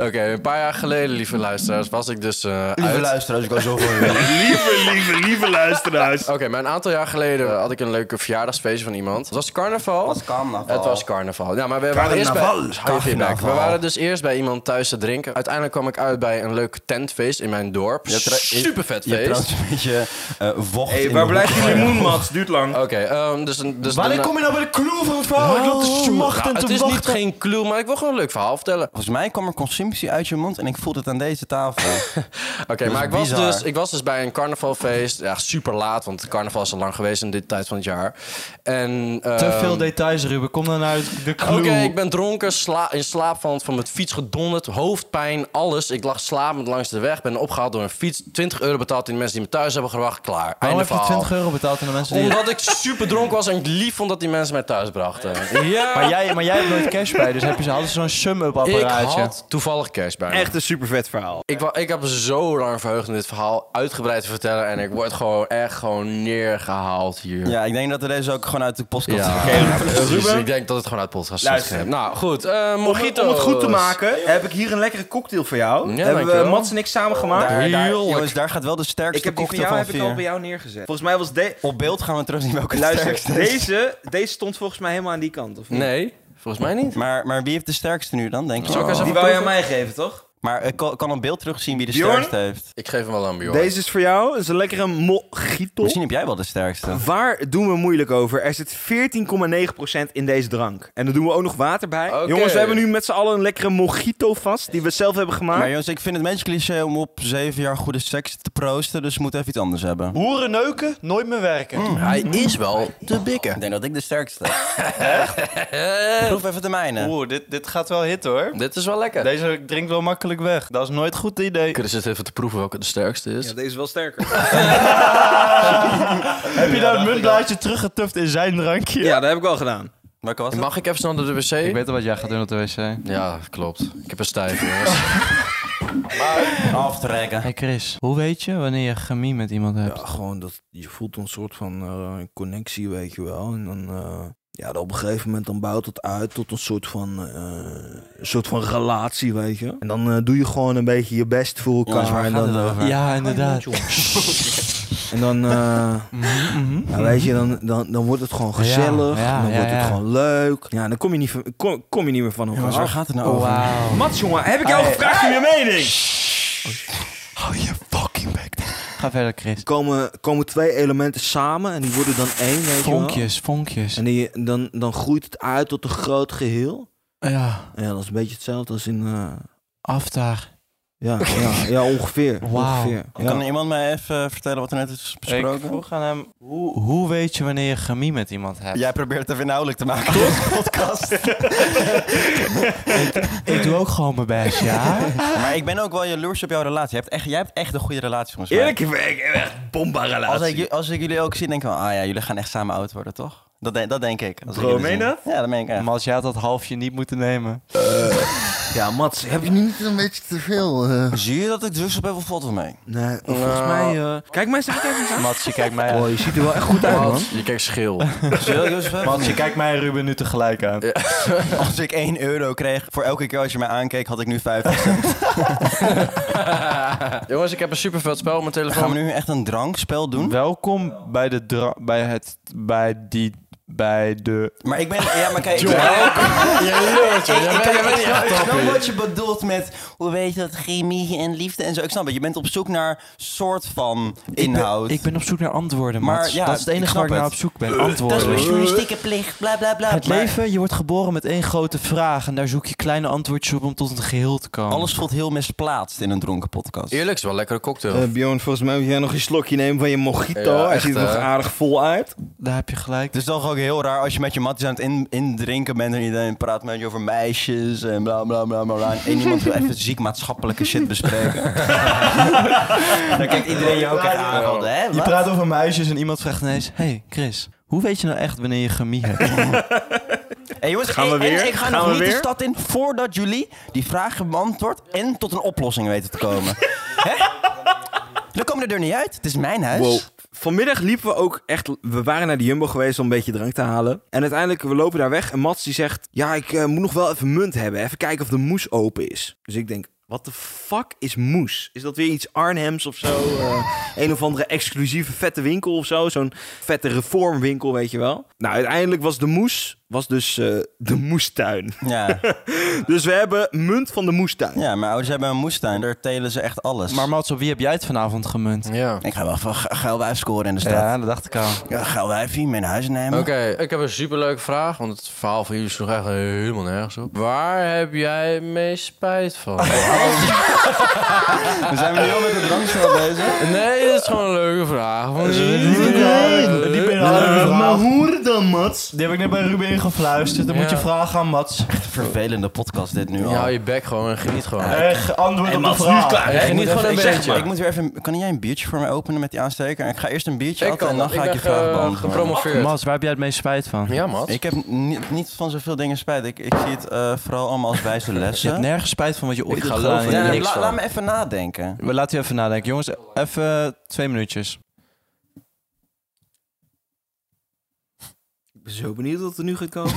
[SPEAKER 3] Oké, een paar jaar geleden, lieve luisteraars, was ik dus eh,
[SPEAKER 1] Lieve
[SPEAKER 3] uit.
[SPEAKER 1] luisteraars, ik al zo voor
[SPEAKER 4] Lieve, lieve, lieve luisteraars.
[SPEAKER 3] Oké, maar een aantal jaar geleden eh, had ik een leuke verjaardagsfeestje van iemand. Het was carnaval.
[SPEAKER 1] was carnaval.
[SPEAKER 3] Het was carnaval. Ja, maar we waren eerst bij...
[SPEAKER 4] Carnaval.
[SPEAKER 3] Hou je feedback.
[SPEAKER 1] Carnaval.
[SPEAKER 3] We waren dus eerst bij iemand thuis te drinken. Uiteindelijk kwam ik uit bij een leuk tentfeest in mijn dorp.
[SPEAKER 1] hebt er-
[SPEAKER 3] Super vet
[SPEAKER 1] Je hebt
[SPEAKER 3] feest.
[SPEAKER 1] trouwens een beetje eh, vocht
[SPEAKER 4] Hey,
[SPEAKER 1] in
[SPEAKER 4] waar
[SPEAKER 1] de
[SPEAKER 4] blijft die
[SPEAKER 1] hoek.
[SPEAKER 4] limoen, Mats? Duurt lang.
[SPEAKER 3] Oké, ehm, dus... Een, dus
[SPEAKER 2] Wanneer
[SPEAKER 3] daarna-
[SPEAKER 2] kom je nou bij de clue van het verhaal? Ik loop te smachten
[SPEAKER 3] Nou,
[SPEAKER 2] en
[SPEAKER 3] het
[SPEAKER 2] te
[SPEAKER 3] is niet
[SPEAKER 2] wachten.
[SPEAKER 3] geen clue, maar ik wil gewoon een leuk verhaal vertellen.
[SPEAKER 1] Volgens mij kwam er consumptie uit je mond en ik voelde het aan deze tafel.
[SPEAKER 3] Oké,
[SPEAKER 1] Dat
[SPEAKER 3] maar
[SPEAKER 1] is
[SPEAKER 3] ik was,
[SPEAKER 1] bizar.
[SPEAKER 3] dus, ik was dus bij een carnavalfeest. Ja, super laat, want carnaval is al lang geweest in dit tijd van het jaar. En,
[SPEAKER 2] Te
[SPEAKER 3] ehm,
[SPEAKER 2] veel details, Ruben. Kom dan uit de
[SPEAKER 3] Oké,
[SPEAKER 2] clue.
[SPEAKER 3] ik ben dronken, sla in slaap van, van mijn fiets gedonderd, hoofdpijn, alles. Ik lag slapend langs de weg, ben opgehaald door een fiets. 20 euro betaald in de mensen die me thuis hebben gebracht. Klaar,
[SPEAKER 2] Waarom
[SPEAKER 3] einde
[SPEAKER 2] heb je
[SPEAKER 3] verhaal.
[SPEAKER 2] 20 euro betaald aan de mensen die...
[SPEAKER 3] Omdat ik super dronken was en ik lief vond dat die mensen mij thuis brachten. Ja,
[SPEAKER 2] Maar jij, maar jij hebt nooit cash bij, dus heb je ze altijd zo'n sum-up
[SPEAKER 3] ik
[SPEAKER 2] apparaatje.
[SPEAKER 3] had toevallig cash bij me.
[SPEAKER 4] Echt een super vet verhaal.
[SPEAKER 3] Ik, wa- ik heb zo lang verheugd om dit verhaal uitgebreid te vertellen. En ik word gewoon echt gewoon neergehaald hier.
[SPEAKER 1] ja, ik denk dat we deze ook gewoon uit de podcast
[SPEAKER 3] Ja.
[SPEAKER 1] gegeven.
[SPEAKER 4] Hey,
[SPEAKER 3] Dus
[SPEAKER 4] Ruben,
[SPEAKER 3] ik denk dat het gewoon uit podcast is
[SPEAKER 4] Luister.
[SPEAKER 3] gegeven. Nou, goed. eh
[SPEAKER 4] om, het- om het goed te maken, heb ik hier een lekkere cocktail voor jou.
[SPEAKER 3] Ja,
[SPEAKER 4] Hebben we
[SPEAKER 3] dankjewel.
[SPEAKER 4] Mats en ik samen gemaakt.
[SPEAKER 1] Daar, daar,
[SPEAKER 3] Heerlijk.
[SPEAKER 1] jongens, daar gaat wel de sterkste
[SPEAKER 4] ik heb die van
[SPEAKER 1] cocktail
[SPEAKER 4] jou
[SPEAKER 1] van
[SPEAKER 4] heb ik al bij
[SPEAKER 1] vier.
[SPEAKER 4] jou neergezet. Volgens mij was de...
[SPEAKER 1] Op beeld gaan we terug zien welke de
[SPEAKER 4] Luister,
[SPEAKER 1] sterkste is.
[SPEAKER 4] deze, deze stond volgens mij helemaal aan die kant, of niet?
[SPEAKER 3] Nee, volgens mij niet.
[SPEAKER 1] Maar, maar wie heeft de sterkste nu dan, denk je?
[SPEAKER 3] Zal ik eens
[SPEAKER 4] Die
[SPEAKER 3] even
[SPEAKER 4] wou je aan
[SPEAKER 3] proeven?
[SPEAKER 4] mij geven, toch?
[SPEAKER 1] Maar ik kan, kan op beeld terugzien wie de
[SPEAKER 4] Bjorn?
[SPEAKER 1] sterkste heeft.
[SPEAKER 3] Ik geef hem wel aan Bjorn.
[SPEAKER 4] Deze is voor jou. Het is een lekkere mojito.
[SPEAKER 1] Misschien heb jij wel de sterkste.
[SPEAKER 4] Waar doen we moeilijk over? Er zit 14,9% in deze drank. En daar doen we ook nog water bij.
[SPEAKER 3] Oké.
[SPEAKER 4] Jongens, we hebben nu met z'n allen een lekkere mojito vast. Die we zelf hebben gemaakt.
[SPEAKER 1] Maar jongens, ik vind het een beetje cliché om op zeven jaar goede seks te proosten. Dus we moeten even iets anders hebben.
[SPEAKER 2] Hoeren neuken, nooit meer werken.
[SPEAKER 3] Hij is wel te
[SPEAKER 1] Ik
[SPEAKER 3] bikken.
[SPEAKER 1] denk dat ik de sterkste. Proef even de mijne.
[SPEAKER 2] Oeh, dit, dit gaat wel hit hoor.
[SPEAKER 3] Dit is wel lekker.
[SPEAKER 2] Deze drinkt wel makkelijk weg. Dat is nooit een goed idee.
[SPEAKER 3] Chris zit even te proeven welke de sterkste is.
[SPEAKER 4] Ja, deze is wel sterker.
[SPEAKER 2] Heb je nou een muntblaadje teruggetuft in zijn drankje?
[SPEAKER 4] ja, dat heb ik al gedaan.
[SPEAKER 1] Welke was het?
[SPEAKER 3] Mag ik even snel naar de wc?
[SPEAKER 2] Ik weet al wat jij gaat doen op de wc.
[SPEAKER 3] Ja, klopt. Ik heb een stijf, jongens.
[SPEAKER 1] Aftrekken.
[SPEAKER 2] Hey Chris, hoe weet je wanneer je chemie met iemand hebt?
[SPEAKER 6] gewoon dat je voelt een soort van eh, connectie, weet je wel. En dan, eh, ja, dan op een gegeven moment dan bouwt het uit tot een soort van, eh, een soort van relatie, weet je. En dan eh, doe je gewoon een beetje je best voor elkaar.
[SPEAKER 1] Jongens, waar
[SPEAKER 6] en,
[SPEAKER 1] gaat
[SPEAKER 6] dan,
[SPEAKER 1] het
[SPEAKER 6] eh,
[SPEAKER 1] over?
[SPEAKER 2] Ja, inderdaad.
[SPEAKER 6] en dan, eh,
[SPEAKER 2] Mhm,
[SPEAKER 6] ja, weet je, dan, dan, dan wordt het gewoon gezellig.
[SPEAKER 2] Ja, ja,
[SPEAKER 6] en dan
[SPEAKER 2] ja,
[SPEAKER 6] wordt
[SPEAKER 2] ja.
[SPEAKER 6] het gewoon leuk. Ja, dan kom je niet, van- kom, kom je niet meer van elkaar
[SPEAKER 1] Jongens, waar
[SPEAKER 6] af.
[SPEAKER 1] gaat het nou
[SPEAKER 2] Oh,
[SPEAKER 1] over?
[SPEAKER 2] Wauw.
[SPEAKER 4] Mats, jongen, heb ik jou gevraagd om je mening?
[SPEAKER 2] Ga verder Chris.
[SPEAKER 6] Er komen, komen twee elementen samen en die worden dan één, weet je wel.
[SPEAKER 2] Vonkjes, vonkjes.
[SPEAKER 6] En die, dan, dan groeit het uit tot een groot geheel.
[SPEAKER 2] Ja,
[SPEAKER 6] Ja, dat is een beetje hetzelfde als in... eh,
[SPEAKER 2] aftaag.
[SPEAKER 6] ja, ja, ja, ongeveer.
[SPEAKER 2] Wauw.
[SPEAKER 6] ongeveer
[SPEAKER 1] Kan
[SPEAKER 6] ja.
[SPEAKER 1] iemand mij even vertellen wat er net is
[SPEAKER 2] Ik
[SPEAKER 1] besproken?
[SPEAKER 2] vroeg aan hem, hoe, hoe weet je wanneer je chemie met iemand hebt?
[SPEAKER 1] Jij probeert het even inhoudelijk te maken in deze podcast.
[SPEAKER 2] Ik doe ook gewoon mijn best, ja?
[SPEAKER 1] maar ik ben ook wel jaloers op jouw relatie. Jij hebt echt, jij hebt echt een goede relatie volgens mij.
[SPEAKER 4] Eerlijk, ik heb echt bomba
[SPEAKER 1] Als
[SPEAKER 4] relatie.
[SPEAKER 1] ik, als ik jullie ook zie, denk ik wel, ah ja, jullie gaan echt samen oud worden, toch? Dat, denk- dat denk ik. Als ik
[SPEAKER 4] Bro,
[SPEAKER 1] jullie
[SPEAKER 4] meen
[SPEAKER 1] zie.
[SPEAKER 4] dat?
[SPEAKER 1] Ja, dat meen ik echt.
[SPEAKER 2] Maar als jij had dat halfje niet moeten nemen.
[SPEAKER 6] ja, Mats, heb je niet een beetje te veel? eh?
[SPEAKER 1] Zie je dat ik drugs op heb of valt het mee?
[SPEAKER 6] nee, volgens mij... eh,
[SPEAKER 4] Kijk mij eens aan, kijk mij eens aan.
[SPEAKER 2] Mats, je kijkt mij
[SPEAKER 6] oh,
[SPEAKER 2] aan.
[SPEAKER 6] je ziet er wel echt goed uit, man.
[SPEAKER 3] Wat? Je kijkt schil.
[SPEAKER 2] Mats, je kijkt mij en Ruben nu tegelijk aan.
[SPEAKER 1] Als ik 1 euro kreeg voor elke keer als je mij aankeek, had ik nu 50 cent.
[SPEAKER 3] jongens, ik heb een super vet spel op mijn
[SPEAKER 1] Gaan we
[SPEAKER 3] telefoon.
[SPEAKER 1] nu echt een drankspel
[SPEAKER 2] Hm?
[SPEAKER 1] doen?
[SPEAKER 2] Welkom bij de dra- bij het, bij die, bij de...
[SPEAKER 1] Maar ik ben... Ja, maar kijk... ik-
[SPEAKER 3] Jij bent- jij bent niet echt
[SPEAKER 1] Ik snap
[SPEAKER 3] toppie.
[SPEAKER 1] wat je bedoelt met hoe weet je dat chemie en liefde en zo. Ik snap het. Je bent op zoek naar soort van inhoud.
[SPEAKER 2] Ik ben op zoek naar antwoorden,
[SPEAKER 1] Maar
[SPEAKER 2] Mats.
[SPEAKER 1] ja,
[SPEAKER 2] dat is het
[SPEAKER 1] ik
[SPEAKER 2] enige
[SPEAKER 1] snap
[SPEAKER 2] waar ik naar
[SPEAKER 1] het.
[SPEAKER 2] op zoek ben. Antwoorden.
[SPEAKER 1] journalistieke plicht, bla bla bla.
[SPEAKER 2] het leven, je wordt geboren met één grote vraag. En daar zoek je kleine antwoordjes op om tot een geheel te komen.
[SPEAKER 1] Alles voelt heel misplaatst in een dronken podcast.
[SPEAKER 3] Eerlijk, is wel een lekkere cocktail.
[SPEAKER 6] Eh, Bjorn, volgens mij moet jij nog een slokje nemen van je mojito.
[SPEAKER 3] Ja,
[SPEAKER 6] Hij
[SPEAKER 3] echt,
[SPEAKER 6] ziet er nog
[SPEAKER 3] hè?
[SPEAKER 6] aardig vol uit.
[SPEAKER 2] Daar heb je gelijk.
[SPEAKER 1] Het is toch ook ook heel raar als je met je matties aan het in- indrinken bent en iedereen praat met je over meisjes en bla bla bla bla. bla. En één iemand wil even ziek maatschappelijke shit bespreken. Dan kijkt iedereen je ook echt aan. van, Hè?
[SPEAKER 5] Je
[SPEAKER 1] Wat?
[SPEAKER 5] praat over meisjes en iemand vraagt ineens... Hey Chris, hoe weet je nou echt wanneer je gemie hebt?
[SPEAKER 1] Hey, jongens,
[SPEAKER 4] Gaan we
[SPEAKER 1] en- en
[SPEAKER 4] weer?
[SPEAKER 1] ik ga
[SPEAKER 4] Gaan
[SPEAKER 1] nog
[SPEAKER 4] we
[SPEAKER 1] niet de
[SPEAKER 4] weer?
[SPEAKER 1] stad in voordat jullie die vragen beantwoord en tot een oplossing weten te komen. Hè? We komen er niet uit. Het is mijn huis.
[SPEAKER 4] Wow. Vanmiddag liepen we ook echt... We waren naar de Jumbo geweest om een beetje drank te halen. En uiteindelijk, we lopen daar weg. En Mats die zegt... Ja, ik eh, moet nog wel even munt hebben. Even kijken of de moes open is. Dus ik denk... Wat de fuck is moes? Is dat weer iets Arnhems of zo? Eh, een of andere exclusieve vette winkel of zo? Zo'n vette reformwinkel, weet je wel? Nou, uiteindelijk was de moes... Was dus eh, de moestuin.
[SPEAKER 1] Ja.
[SPEAKER 4] Dus we hebben munt van de moestuin.
[SPEAKER 1] ja, mijn ouders hebben een moestuin. Daar telen ze echt alles.
[SPEAKER 5] maar Mats, op wie heb jij het vanavond gemunt?
[SPEAKER 3] Ja.
[SPEAKER 1] ik ga wel van ge- geil wijf scoren in de stad.
[SPEAKER 5] Ja, dat dacht ik al.
[SPEAKER 1] Ja, geil wijfie, mijn huis nemen.
[SPEAKER 3] Oké, ik heb een superleuke vraag, want het verhaal van jullie sloeg echt helemaal nergens op. Waar heb jij het meest spijt van?
[SPEAKER 1] We zijn nu al met de drankspel bezig.
[SPEAKER 3] nee, dat is gewoon een leuke vraag. Want
[SPEAKER 5] Die ben
[SPEAKER 6] maar hoe dan, Mats?
[SPEAKER 5] Die heb ik net bij Ruben ingefluisterd. Dan moet je
[SPEAKER 3] Ja.
[SPEAKER 5] vragen aan Mats. Eh,
[SPEAKER 1] Vervelende podcast dit nu al.
[SPEAKER 3] Ja, hou je bek gewoon en geniet gewoon.
[SPEAKER 5] Echt, antwoord op de vraag.
[SPEAKER 3] En geniet gewoon een
[SPEAKER 1] ik, zeg,
[SPEAKER 3] beetje.
[SPEAKER 1] maar, ik moet weer even... Kan jij een biertje voor mij openen met die aansteker? En ik ga eerst een biertje
[SPEAKER 3] Ik eh,
[SPEAKER 1] atten en dan
[SPEAKER 3] dat.
[SPEAKER 1] ga ik je
[SPEAKER 3] ben
[SPEAKER 1] vraag
[SPEAKER 3] ge-
[SPEAKER 1] beantwoorden.
[SPEAKER 3] gepromoveerd.
[SPEAKER 5] Mats, waar heb jij het meest spijt van?
[SPEAKER 3] Ja, Mats.
[SPEAKER 1] Ik heb ni- niet van zoveel dingen spijt. Ik, ik zie het eh, vooral allemaal als wijze
[SPEAKER 5] Je hebt
[SPEAKER 1] lessen.
[SPEAKER 5] nergens spijt van wat je ooit hebt gedaan.
[SPEAKER 3] geloof er
[SPEAKER 5] in je
[SPEAKER 1] Ja,
[SPEAKER 3] niks
[SPEAKER 5] leven.
[SPEAKER 1] la-
[SPEAKER 3] van.
[SPEAKER 1] laat me even nadenken.
[SPEAKER 5] We laten u even nadenken. Jongens, even twee minuutjes.
[SPEAKER 4] Ik ben zo benieuwd wat er nu gaat komen.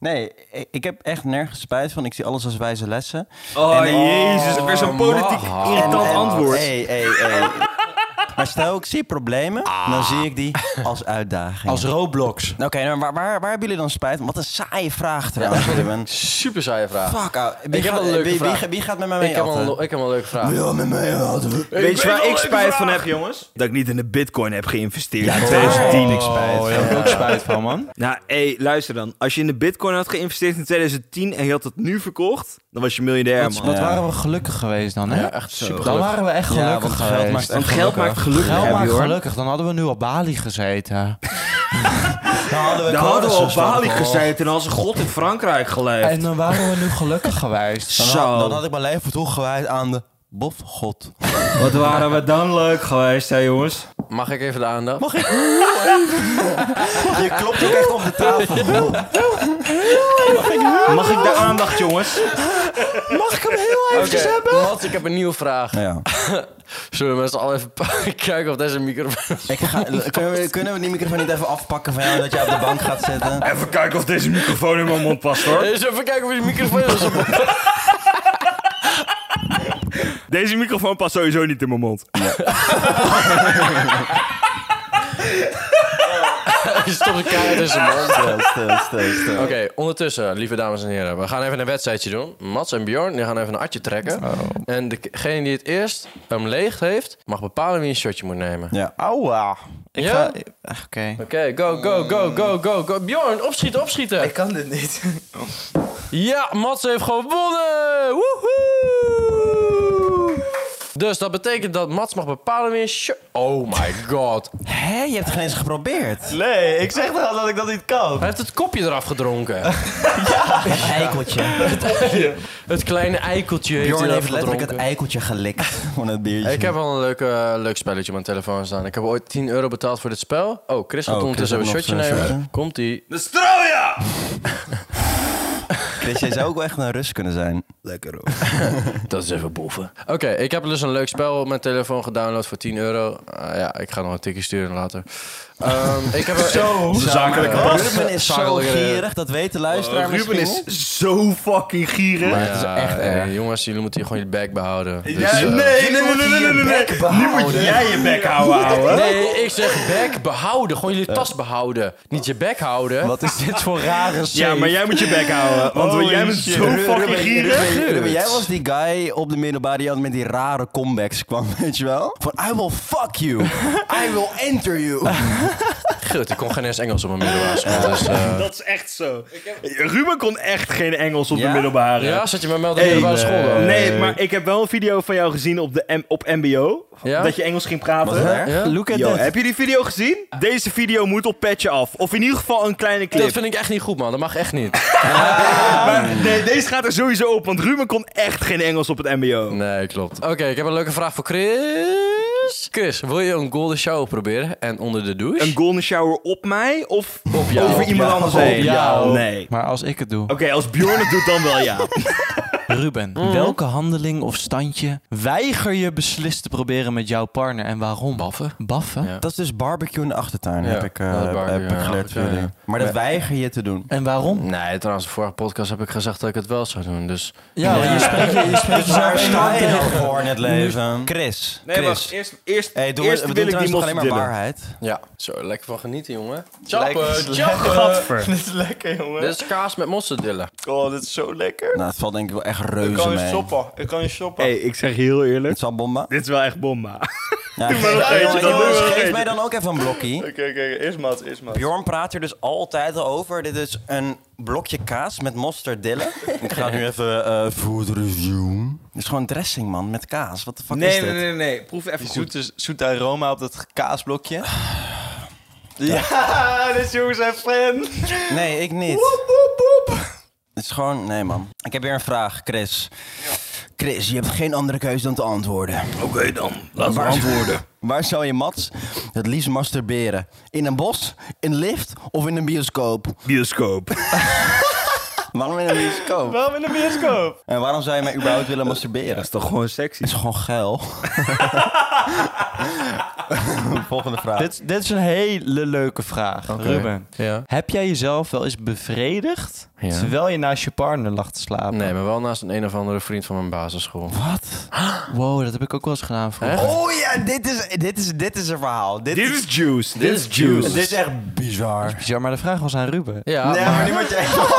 [SPEAKER 1] Nee, ik, ik heb echt nergens spijt van. Ik zie alles als wijze lessen.
[SPEAKER 4] Oh,
[SPEAKER 1] En-
[SPEAKER 4] jezus. Weer zo'n politiek
[SPEAKER 3] man.
[SPEAKER 4] irritant antwoord.
[SPEAKER 1] Hey, hey, hey. maar stel, ik zie problemen, dan zie ik die als uitdaging.
[SPEAKER 5] Als Roblox.
[SPEAKER 1] Oké, nou, waar, waar, waar hebben jullie dan spijt van? Wat een saaie vraag trouwens, Ruben.
[SPEAKER 3] Super saaie vraag.
[SPEAKER 1] Fuck, ouwe. Wie,
[SPEAKER 3] Ik heb
[SPEAKER 1] gaat,
[SPEAKER 3] wel een leuke
[SPEAKER 1] wie, wie,
[SPEAKER 3] vraag.
[SPEAKER 1] wie gaat met mij mee
[SPEAKER 3] Ik heb,
[SPEAKER 1] atten?
[SPEAKER 3] al, ik heb al een leuke vraag.
[SPEAKER 1] Wil met mij atten?
[SPEAKER 4] Weet je waar ik spijt van heb, jongens? Dat ik niet in de bitcoin heb geïnvesteerd. in 2010.
[SPEAKER 5] ik spijt. Oh, daar heb ik ook spijt van, man.
[SPEAKER 4] Nou, hé, luister dan. Als je in de bitcoin had geïnvesteerd in 2010 en je had het nu verkocht, dan was je miljardair,
[SPEAKER 5] Wat,
[SPEAKER 4] man.
[SPEAKER 5] wat
[SPEAKER 1] Ja.
[SPEAKER 5] waren we gelukkig geweest dan, hè?
[SPEAKER 3] Ja, echt super
[SPEAKER 5] Dan
[SPEAKER 3] gelukkig.
[SPEAKER 5] waren we echt
[SPEAKER 1] Ja,
[SPEAKER 5] gelukkig
[SPEAKER 1] want geld
[SPEAKER 5] geweest.
[SPEAKER 1] maakt
[SPEAKER 4] En geld maakt gelukkig,
[SPEAKER 5] Geld
[SPEAKER 4] heb
[SPEAKER 5] maar
[SPEAKER 4] je, hoor.
[SPEAKER 5] gelukkig, dan hadden we nu op Bali gezeten.
[SPEAKER 4] Dan hadden we op Bali gezeten en als een god in Frankrijk geleefd.
[SPEAKER 5] En dan waren we nu gelukkig geweest.
[SPEAKER 1] Dan,
[SPEAKER 4] Zo.
[SPEAKER 1] had, dan had ik mijn leven toegewijd aan de bofgod.
[SPEAKER 4] Wat waren we dan leuk geweest, hè, jongens?
[SPEAKER 3] Mag ik even de aandacht?
[SPEAKER 1] Je klopt ook echt op de tafel.
[SPEAKER 4] Mag ik de aandacht, jongens?
[SPEAKER 3] Oké, Mats, ik heb een nieuwe vraag.
[SPEAKER 1] Ja.
[SPEAKER 3] Zullen we met z'n allen even kijken of deze microfoon...
[SPEAKER 1] Ik ga, kunnen, we, kunnen we die microfoon niet even afpakken van jou, dat jij op de bank gaat zitten?
[SPEAKER 4] Even kijken of deze microfoon in mijn mond past, hoor.
[SPEAKER 3] Eens even kijken of je microfoon is op.
[SPEAKER 4] Deze microfoon past sowieso niet in mijn mond.
[SPEAKER 3] is toch een kaart tussen, man.
[SPEAKER 1] Stil, stil, stil, stil.
[SPEAKER 3] Oké, ondertussen, lieve dames en heren. We gaan even een wedstrijdje doen. Mats en Bjorn die gaan even een atje trekken. En degene die het eerst hem leeg heeft... mag bepalen wie een shotje moet nemen.
[SPEAKER 1] Ja. Eh,
[SPEAKER 5] Auwa. Ik
[SPEAKER 3] Ja?
[SPEAKER 5] ga... Oké.
[SPEAKER 3] Oké, go, go, go, go, go, go. Bjorn, opschieten, opschieten.
[SPEAKER 5] kan dit niet.
[SPEAKER 3] Ja, Mats heeft gewonnen! Woehoe! Dus dat betekent dat Mats mag bepalen wie een shot... Oh my god.
[SPEAKER 1] Hé, je hebt het geen eens geprobeerd.
[SPEAKER 5] Nee, ik zeg toch al dat ik dat niet kan.
[SPEAKER 3] Hij heeft het kopje eraf gedronken.
[SPEAKER 1] Eikeltje.
[SPEAKER 3] Het kleine eikeltje heeft
[SPEAKER 1] Bjorn
[SPEAKER 3] hij
[SPEAKER 1] heeft
[SPEAKER 3] eraf
[SPEAKER 1] letterlijk het
[SPEAKER 3] gedronken.
[SPEAKER 1] eikeltje gelikt van het biertje.
[SPEAKER 3] Ik heb al een leuk, eh, leuk spelletje op mijn telefoon staan. Ik heb ooit 10 euro betaald voor dit spel. Oh, Chris gaat
[SPEAKER 1] Oh,
[SPEAKER 3] ondertussen
[SPEAKER 1] Chris
[SPEAKER 3] even een
[SPEAKER 1] gaat
[SPEAKER 3] shotje
[SPEAKER 1] nog
[SPEAKER 3] nemen.
[SPEAKER 1] zo'n shotje.
[SPEAKER 3] Komt-ie.
[SPEAKER 4] De strooia!
[SPEAKER 1] Chris, jij zou ook wel echt een Rus kunnen zijn.
[SPEAKER 6] Lekker hoor.
[SPEAKER 3] Dat is even boeven. Oké, ik heb dus een leuk spel op mijn telefoon gedownload voor 10 euro. Ah, ja, ik ga nog een tikje sturen later. Ehm, ik heb Zo!
[SPEAKER 1] Zakelijke Ruben is zo
[SPEAKER 3] eh, Zakelijke-
[SPEAKER 1] gierig, dat weet de luisteraar
[SPEAKER 4] Oh, Ruben
[SPEAKER 1] misschien.
[SPEAKER 4] is zo fucking gierig.
[SPEAKER 3] Maar het is echt eh, Jongens, jullie moeten hier gewoon je bek behouden. Dus,
[SPEAKER 4] Ja,
[SPEAKER 3] eh,
[SPEAKER 4] nee, nee, nee, nee, nee, nee, nee. Nu moet jij je bek houden, ouwe.
[SPEAKER 3] Nee, ik zeg bek behouden. Gewoon jullie tas behouden. Niet je bek houden.
[SPEAKER 1] Wat is dit voor rare shit?
[SPEAKER 4] Ja, maar jij moet je bek houden. Want jij bent zo fucking gierig.
[SPEAKER 1] Ruben, jij was die guy op de middelbare die altijd met die rare comebacks kwam, weet je wel? Van, I will fuck you. I will enter you.
[SPEAKER 3] Gut, ik kon geen eens Engels op mijn middelbare school. Dus, eh,
[SPEAKER 6] Dat is echt zo. Ruben kon echt geen Engels op
[SPEAKER 1] Ja?
[SPEAKER 6] de middelbare.
[SPEAKER 3] ja, eh, zat je bij mij op de middelbare school dan?
[SPEAKER 6] Nee, maar ik heb wel een video van jou gezien op, de M op MBO.
[SPEAKER 3] Ja?
[SPEAKER 6] Dat je Engels ging praten.
[SPEAKER 3] Ja?
[SPEAKER 1] Look at
[SPEAKER 6] Yo,
[SPEAKER 1] that.
[SPEAKER 6] heb je die video gezien? Deze video moet op petje af. Of in ieder geval een kleine clip.
[SPEAKER 3] Dat vind ik echt niet goed, man. Dat mag echt niet.
[SPEAKER 6] Maar nee, deze gaat er sowieso op, want Ruben kon echt geen Engels op het MBO.
[SPEAKER 3] Nee, klopt. Oh. Oké, ik heb een leuke vraag voor Chris. Chris, wil je een golden shower proberen en onder de douche?
[SPEAKER 6] Een golden shower op mij of
[SPEAKER 3] Op jou.
[SPEAKER 6] over iemand anders
[SPEAKER 2] Op
[SPEAKER 6] heen?
[SPEAKER 2] jou.
[SPEAKER 6] Nee. Oké,
[SPEAKER 2] Maar als ik het doe.
[SPEAKER 6] als Bjorn het doet, dan wel ja.
[SPEAKER 2] Ruben, welke handeling of standje weiger je beslist te proberen met jouw partner en waarom?
[SPEAKER 3] Baffen.
[SPEAKER 2] Baffen?
[SPEAKER 3] Ja.
[SPEAKER 1] Dat is dus barbecue in de achtertuin,
[SPEAKER 3] Ja,
[SPEAKER 1] heb ik, eh,
[SPEAKER 3] dat is barbecue,
[SPEAKER 1] heb ik
[SPEAKER 3] ja.
[SPEAKER 1] geleerd.
[SPEAKER 3] Ja, ja.
[SPEAKER 1] Maar dat weiger je te doen.
[SPEAKER 2] En waarom?
[SPEAKER 3] Nee, trouwens, de vorige podcast heb ik gezegd dat ik het wel zou doen. Dus
[SPEAKER 2] Ja, je spreekt je, je spreekt jezelf sterk in.
[SPEAKER 1] voor in het leven. Chris.
[SPEAKER 4] Nee,
[SPEAKER 1] Chris.
[SPEAKER 4] wacht. Eerst, eerst,
[SPEAKER 1] Hey, doe
[SPEAKER 4] eerst
[SPEAKER 1] we
[SPEAKER 4] wil
[SPEAKER 1] doen
[SPEAKER 4] ik die
[SPEAKER 1] trouwens nog alleen
[SPEAKER 4] mosterd
[SPEAKER 1] maar
[SPEAKER 4] dillen.
[SPEAKER 1] waarheid.
[SPEAKER 3] ja, zo lekker van genieten, jongen.
[SPEAKER 4] Lekker.
[SPEAKER 3] Chappen, chappen.
[SPEAKER 4] Dit is lekker, jongen.
[SPEAKER 3] Dit is kaas met mosterdillen.
[SPEAKER 4] Oh, dit is zo lekker.
[SPEAKER 1] Nou, het valt denk ik wel echt
[SPEAKER 4] Ik
[SPEAKER 1] reuze
[SPEAKER 4] kan
[SPEAKER 1] mee.
[SPEAKER 4] je shoppen. Ik kan je shoppen.
[SPEAKER 6] hey, ik zeg je heel eerlijk.
[SPEAKER 1] Het zal bomba.
[SPEAKER 6] Dit is wel echt bomba.
[SPEAKER 1] Ja,
[SPEAKER 6] maar nog
[SPEAKER 1] geef-
[SPEAKER 6] eentje,
[SPEAKER 1] jongens,
[SPEAKER 6] dan doe
[SPEAKER 1] jongens,
[SPEAKER 6] maar nog
[SPEAKER 1] geef
[SPEAKER 6] eentje.
[SPEAKER 1] mij dan ook even een blokkie.
[SPEAKER 4] Oké, oké. Eerst Mats, eerst Mats.
[SPEAKER 1] Bjorn praat er dus altijd al over. Dit is een blokje kaas met mosterdillen. ik ga nu even eh food review. Dit is gewoon dressing, man, met kaas. Wat de fuck is
[SPEAKER 4] Nee,
[SPEAKER 1] dit?
[SPEAKER 4] nee, nee, nee. Proef even
[SPEAKER 5] Die
[SPEAKER 4] goed.
[SPEAKER 5] zoete, zoete aroma op dat kaasblokje.
[SPEAKER 1] Ah.
[SPEAKER 4] Ja, dit is jongens zijn fan.
[SPEAKER 1] Nee, ik niet. Het is gewoon... Nee, man. Ik heb weer een vraag, Chris. Chris, je hebt geen andere keuze dan te antwoorden.
[SPEAKER 6] Oké dan, laten
[SPEAKER 1] Waar- Waar zou je Mats het liefst masturberen? In een bos, in een lift of in een bioscoop?
[SPEAKER 6] Bioscoop.
[SPEAKER 1] Waarom in een bioscoop?
[SPEAKER 4] Waarom in de bioscoop?
[SPEAKER 1] En waarom zou je mij überhaupt willen masturberen?
[SPEAKER 6] Dat is toch gewoon sexy?
[SPEAKER 1] is gewoon geil. Volgende vraag.
[SPEAKER 2] Dit, dit is een hele leuke vraag, Ruben.
[SPEAKER 3] Ja.
[SPEAKER 2] Heb jij jezelf wel eens bevredigd
[SPEAKER 3] Ja.
[SPEAKER 2] terwijl je naast je partner lag te slapen?
[SPEAKER 3] Nee, maar wel naast een een of andere vriend van mijn basisschool.
[SPEAKER 2] Wat? Wow, dat heb ik ook wel eens gedaan vroeger.
[SPEAKER 3] Echt?
[SPEAKER 1] Oh ja, dit is, dit is, dit is een verhaal. Dit,
[SPEAKER 6] Dit is juice. Dit is juice.
[SPEAKER 1] dit is echt bizar.
[SPEAKER 2] Bizar, maar de vraag was aan Ruben.
[SPEAKER 3] Ja,
[SPEAKER 1] nee, maar
[SPEAKER 3] maar...
[SPEAKER 1] nu word je echt wat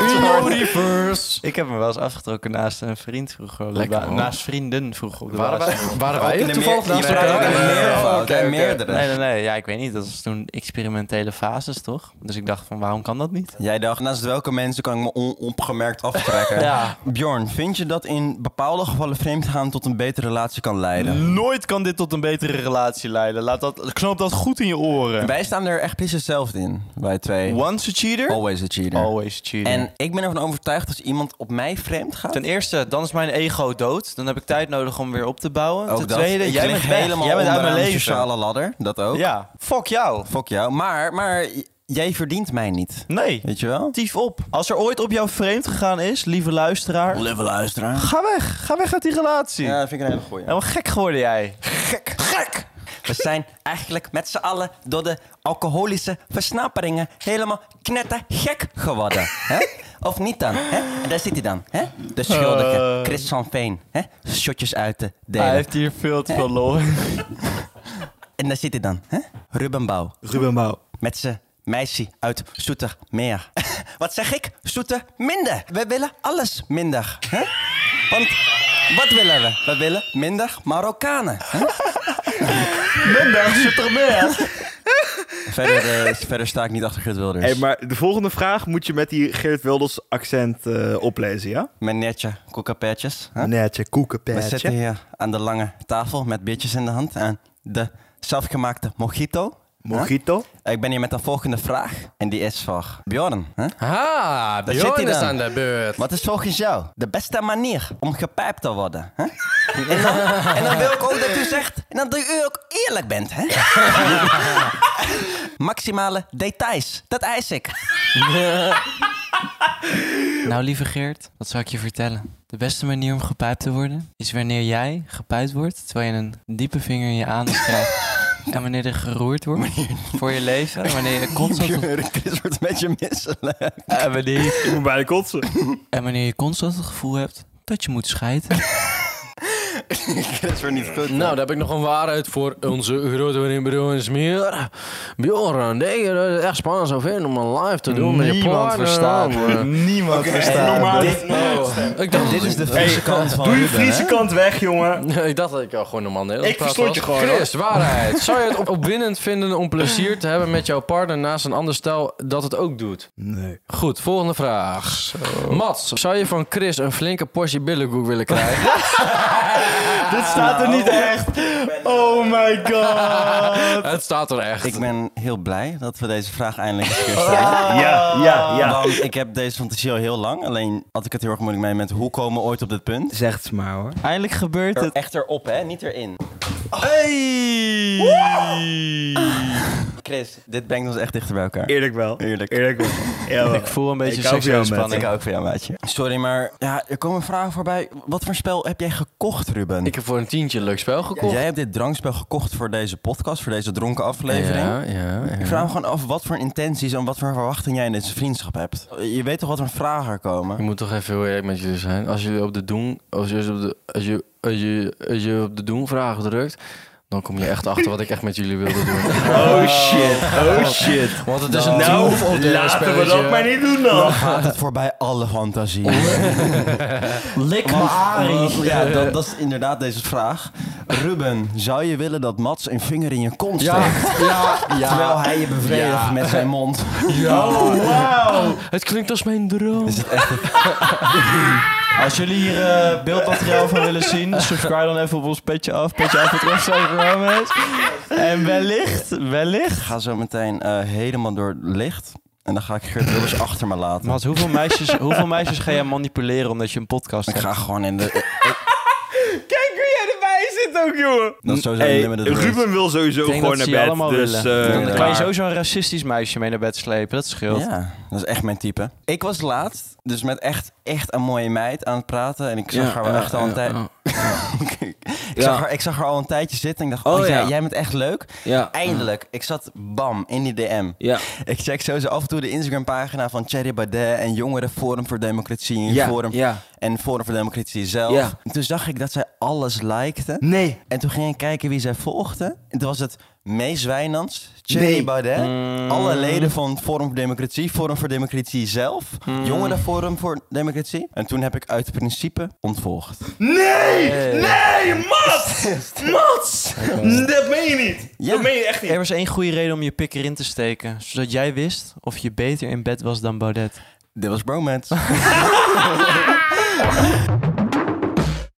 [SPEAKER 3] Universe.
[SPEAKER 2] Ik heb me wel eens afgetrokken naast een vriend vroeger. op de
[SPEAKER 3] Lekker,
[SPEAKER 2] ba-
[SPEAKER 3] man.
[SPEAKER 2] naast vrienden vroeger. op de
[SPEAKER 3] Waren
[SPEAKER 2] basisschool.
[SPEAKER 3] wij, waren wij
[SPEAKER 1] in de meer,
[SPEAKER 3] toevallig
[SPEAKER 1] je
[SPEAKER 3] naast
[SPEAKER 1] praat ook in de
[SPEAKER 3] elkaar?
[SPEAKER 1] meervoud,
[SPEAKER 3] Oké,
[SPEAKER 1] hè,
[SPEAKER 3] oké.
[SPEAKER 1] meerdere.
[SPEAKER 2] Nee, nee, nee. Ja, ik weet niet. Dat was toen experimentele fases, toch? Dus ik dacht van, waarom kan dat niet?
[SPEAKER 1] Jij dacht, naast welke mensen kan ik me onopgemerkt aftrekken?
[SPEAKER 2] Ja.
[SPEAKER 1] Bjorn, vind je dat in bepaalde gevallen vreemdgaan tot een betere relatie kan leiden?
[SPEAKER 2] Nooit kan dit tot een betere relatie leiden. Laat dat, knoop dat goed in je oren.
[SPEAKER 1] Wij staan er echt precies hetzelfde in, wij twee.
[SPEAKER 2] Once a cheater,
[SPEAKER 1] Always a cheater.
[SPEAKER 2] always a cheater.
[SPEAKER 1] En ik ben ervan overtuigd als iemand op mij vreemd gaat...
[SPEAKER 2] Ten eerste, dan is mijn ego dood. Dan heb ik tijd nodig om weer op te bouwen.
[SPEAKER 1] ook
[SPEAKER 2] Ten
[SPEAKER 1] dat.
[SPEAKER 2] tweede,
[SPEAKER 1] ik
[SPEAKER 2] jij
[SPEAKER 1] lig
[SPEAKER 2] bent weg.
[SPEAKER 1] helemaal
[SPEAKER 2] jij bent uit mijn
[SPEAKER 1] onderaan de
[SPEAKER 2] leven.
[SPEAKER 1] sociale ladder, dat ook.
[SPEAKER 2] Ja, fuck jou.
[SPEAKER 1] Fok jou. Maar, maar j- jij verdient mij niet.
[SPEAKER 2] Nee,
[SPEAKER 1] Weet je wel?
[SPEAKER 2] tief op. Als er ooit op jou vreemd gegaan is, lieve luisteraar,
[SPEAKER 1] Lieve luisteraar.
[SPEAKER 2] ga weg. Ga weg uit die relatie.
[SPEAKER 1] Ja, dat vind ik een hele goeie.
[SPEAKER 2] Helemaal gek geworden jij.
[SPEAKER 1] Gek. Gek! We zijn eigenlijk met z'n allen door de alcoholische versnaperingen helemaal knettergek geworden. hè? Of niet dan? Hè? En daar zit hij dan. Hè? De schuldige Chris van Veen. Hè? Shotjes uit te delen.
[SPEAKER 2] Eh. Hij heeft hier veel te veel lol.
[SPEAKER 1] En daar zit hij dan. Hè? Ruben Bouw.
[SPEAKER 6] Ruben Bouw.
[SPEAKER 1] Met zijn meisje uit Zoetermeer. wat zeg ik? Zoeterminder. We willen alles minder. Hè? Want wat willen we? We willen minder Marokkanen.
[SPEAKER 2] Minder, zit er meer.
[SPEAKER 1] Verder, eh, verder sta ik niet achter Geert Wilders.
[SPEAKER 6] Hey, maar de volgende vraag moet je met die Geert Wilders accent eh, oplezen, ja?
[SPEAKER 1] Mijn netje koekapetjes. hè?
[SPEAKER 6] Netje,
[SPEAKER 1] We
[SPEAKER 6] koekenpetje.
[SPEAKER 1] zitten hier aan de lange tafel met biertjes in de hand. En de zelfgemaakte mojito. hè?
[SPEAKER 6] Mojito.
[SPEAKER 1] Ik ben hier met een volgende vraag. En die is voor Bjorn. Hè?
[SPEAKER 3] Ha,
[SPEAKER 1] Daar zit
[SPEAKER 3] Ah, Bjorn
[SPEAKER 1] hij
[SPEAKER 3] is
[SPEAKER 1] dan.
[SPEAKER 3] aan de beurt.
[SPEAKER 1] Wat is volgens jou de beste manier om gepijpt te worden? Hè? En, dan, en dan wil ik ook dat u zegt... En dan dat u ook eerlijk bent, hè? Maximale details, dat eis ik.
[SPEAKER 2] Nou, lieve Geert, wat zou ik je vertellen? De beste manier om gepijpt te worden is wanneer jij gepijpt wordt terwijl je een diepe vinger in je anus krijgt. En wanneer er geroerd wordt voor je leven, wanneer je constant het-
[SPEAKER 1] Chris wordt een beetje misselijk.
[SPEAKER 2] en wanneer je
[SPEAKER 6] Ik moet bijna kotsen.
[SPEAKER 2] En wanneer je constant het gevoel hebt dat je moet scheiden.
[SPEAKER 1] dat is weer niet goed.
[SPEAKER 3] Nou, daar heb ik nog een waarheid voor onze grote vriend Bjorn Smeer. Bjorn, denk je dat het echt spannend zou vinden om een live te doen met je
[SPEAKER 5] Niemand
[SPEAKER 3] partner?
[SPEAKER 5] verstaat me. Niemand verstaat me. Oh.
[SPEAKER 1] dit,
[SPEAKER 3] Ik dacht,
[SPEAKER 1] dit is de Friese kant van
[SPEAKER 5] Doe je
[SPEAKER 1] Ruben, Oh, hè?
[SPEAKER 5] Friese kant weg, jongen.
[SPEAKER 3] ik dacht dat ik al gewoon normaal Nederlands
[SPEAKER 5] Ik verstond je
[SPEAKER 3] was.
[SPEAKER 5] gewoon,
[SPEAKER 3] Chris, waarheid. Zou je het op- opwindend vinden om plezier te hebben met jouw partner naast een ander stel dat het ook doet?
[SPEAKER 6] Nee.
[SPEAKER 3] Goed, volgende vraag. Mats, zou je van Chris een flinke portie billenkoek willen krijgen?
[SPEAKER 5] Dit staat er niet echt. Oh my god.
[SPEAKER 3] het staat er echt.
[SPEAKER 1] Ik ben heel blij dat we deze vraag eindelijk eens een keer stellen.
[SPEAKER 5] Ja, ja, ja.
[SPEAKER 1] Want ik heb deze fantasie al heel lang. Alleen had ik het heel erg moeilijk mee met hoe komen we ooit op dit punt.
[SPEAKER 6] Zeg het maar hoor.
[SPEAKER 2] Eindelijk gebeurt
[SPEAKER 1] Er,
[SPEAKER 2] het.
[SPEAKER 1] echt erop, hè? Niet erin.
[SPEAKER 5] Hey.
[SPEAKER 1] Chris, dit brengt ons echt dichter bij elkaar.
[SPEAKER 5] Eerlijk wel.
[SPEAKER 1] Eerlijk.
[SPEAKER 5] Eerlijk wel. Ja, wel.
[SPEAKER 2] Ik voel een beetje
[SPEAKER 5] Ik hou van jou,
[SPEAKER 2] seksuele
[SPEAKER 5] Matt.
[SPEAKER 1] Ik
[SPEAKER 2] spanning.
[SPEAKER 1] hou ook van jou, maatje. Sorry, maar ja, er komen vragen voorbij. Wat voor spel heb jij gekocht, Ruben?
[SPEAKER 3] Ik heb voor een tientje een leuk spel gekocht.
[SPEAKER 1] Jij hebt dit drankspel gekocht voor deze podcast, voor deze dronken aflevering.
[SPEAKER 3] Ja, ja, ja.
[SPEAKER 1] Ik vraag me gewoon af wat voor intenties en wat voor verwachting jij in deze vriendschap hebt. Je weet toch wat er vragen er
[SPEAKER 3] Ik
[SPEAKER 1] komen?
[SPEAKER 3] moet toch even heel eerlijk met jullie zijn. Als jullie op de doen, als je op de, als je, als je, als je op de doen vragen drukt, dan kom je echt achter wat ik echt met jullie wilde doen.
[SPEAKER 5] Oh shit. Oh shit.
[SPEAKER 3] Want het is een
[SPEAKER 5] Nou,
[SPEAKER 3] troef op de
[SPEAKER 5] laten we dat maar niet doen dan.
[SPEAKER 1] Dan gaat het voorbij alle fantasie.
[SPEAKER 2] Lik
[SPEAKER 1] Want-
[SPEAKER 2] Ari.
[SPEAKER 1] want- Ja, dat, dat is inderdaad deze vraag. Ruben, zou je willen dat Mats een vinger in je kont steekt?
[SPEAKER 3] Ja, ja,
[SPEAKER 1] Terwijl
[SPEAKER 3] ja.
[SPEAKER 1] hij je bevredigt
[SPEAKER 3] Ja.
[SPEAKER 1] met zijn mond.
[SPEAKER 5] Oh wow.
[SPEAKER 3] Het klinkt als mijn droom.
[SPEAKER 1] Is het echt
[SPEAKER 2] Als jullie hier eh, beeldmateriaal van willen zien, subscribe dan even op ons petje af. Petje af het Instagram is. En wellicht, wellicht.
[SPEAKER 1] Ik ga zo meteen eh, helemaal door het licht. En dan ga ik Geert Wilders achter me laten.
[SPEAKER 2] Mas, hoeveel meisjes, hoeveel meisjes ga jij manipuleren omdat je een podcast
[SPEAKER 1] ik
[SPEAKER 2] hebt?
[SPEAKER 1] ga gewoon in de...
[SPEAKER 5] Kijk hoe jij erbij zit ook, jongen.
[SPEAKER 1] Dat is sowieso
[SPEAKER 5] Hey,
[SPEAKER 1] een limited race.
[SPEAKER 5] Ruben wil sowieso
[SPEAKER 2] Ik denk
[SPEAKER 5] gewoon
[SPEAKER 2] dat
[SPEAKER 5] naar bed.
[SPEAKER 2] ze je allemaal
[SPEAKER 5] dus,
[SPEAKER 2] willen.
[SPEAKER 5] eh,
[SPEAKER 1] Ja.
[SPEAKER 2] Dan kan je
[SPEAKER 1] klaar.
[SPEAKER 2] sowieso een racistisch meisje mee naar bed slepen, dat scheelt.
[SPEAKER 1] Ja, dat is echt mijn type. Ik was laatst, dus met echt, echt een mooie meid aan het praten. En ik zag haar wel echt al een tijdje... ik, zag haar- ik zag haar al een tijdje zitten en ik dacht, oh,
[SPEAKER 4] Oh,
[SPEAKER 1] ja,
[SPEAKER 4] ja.
[SPEAKER 1] jij bent echt leuk.
[SPEAKER 4] Ja.
[SPEAKER 1] Eindelijk, ik zat bam in die DM.
[SPEAKER 4] Ja.
[SPEAKER 1] Ik check sowieso af en toe de Instagram-pagina van Thierry Baudet en Jongeren Forum voor Democratie en,
[SPEAKER 4] Ja.
[SPEAKER 1] Forum,
[SPEAKER 4] Ja.
[SPEAKER 1] en Forum voor Democratie zelf.
[SPEAKER 4] Ja.
[SPEAKER 1] En toen zag ik dat zij alles likte.
[SPEAKER 4] Nee.
[SPEAKER 1] En toen ging ik kijken wie zij volgde. En toen was het Mees Wijnands, Thierry
[SPEAKER 4] Nee.
[SPEAKER 1] Baudet,
[SPEAKER 5] Mm.
[SPEAKER 1] alle leden van Forum voor Democratie, Forum voor Democratie zelf,
[SPEAKER 5] Mm.
[SPEAKER 1] Jongeren Forum voor Democratie. En toen heb ik uit principe ontvolgd.
[SPEAKER 5] Nee! Nee, Mats! Mats! Dat meen je niet.
[SPEAKER 1] Ja.
[SPEAKER 5] Dat meen je echt
[SPEAKER 2] Er
[SPEAKER 5] niet.
[SPEAKER 2] was één goede reden om je pik erin te steken. Zodat jij wist of je beter in bed was dan Baudet.
[SPEAKER 1] Dit was bromance.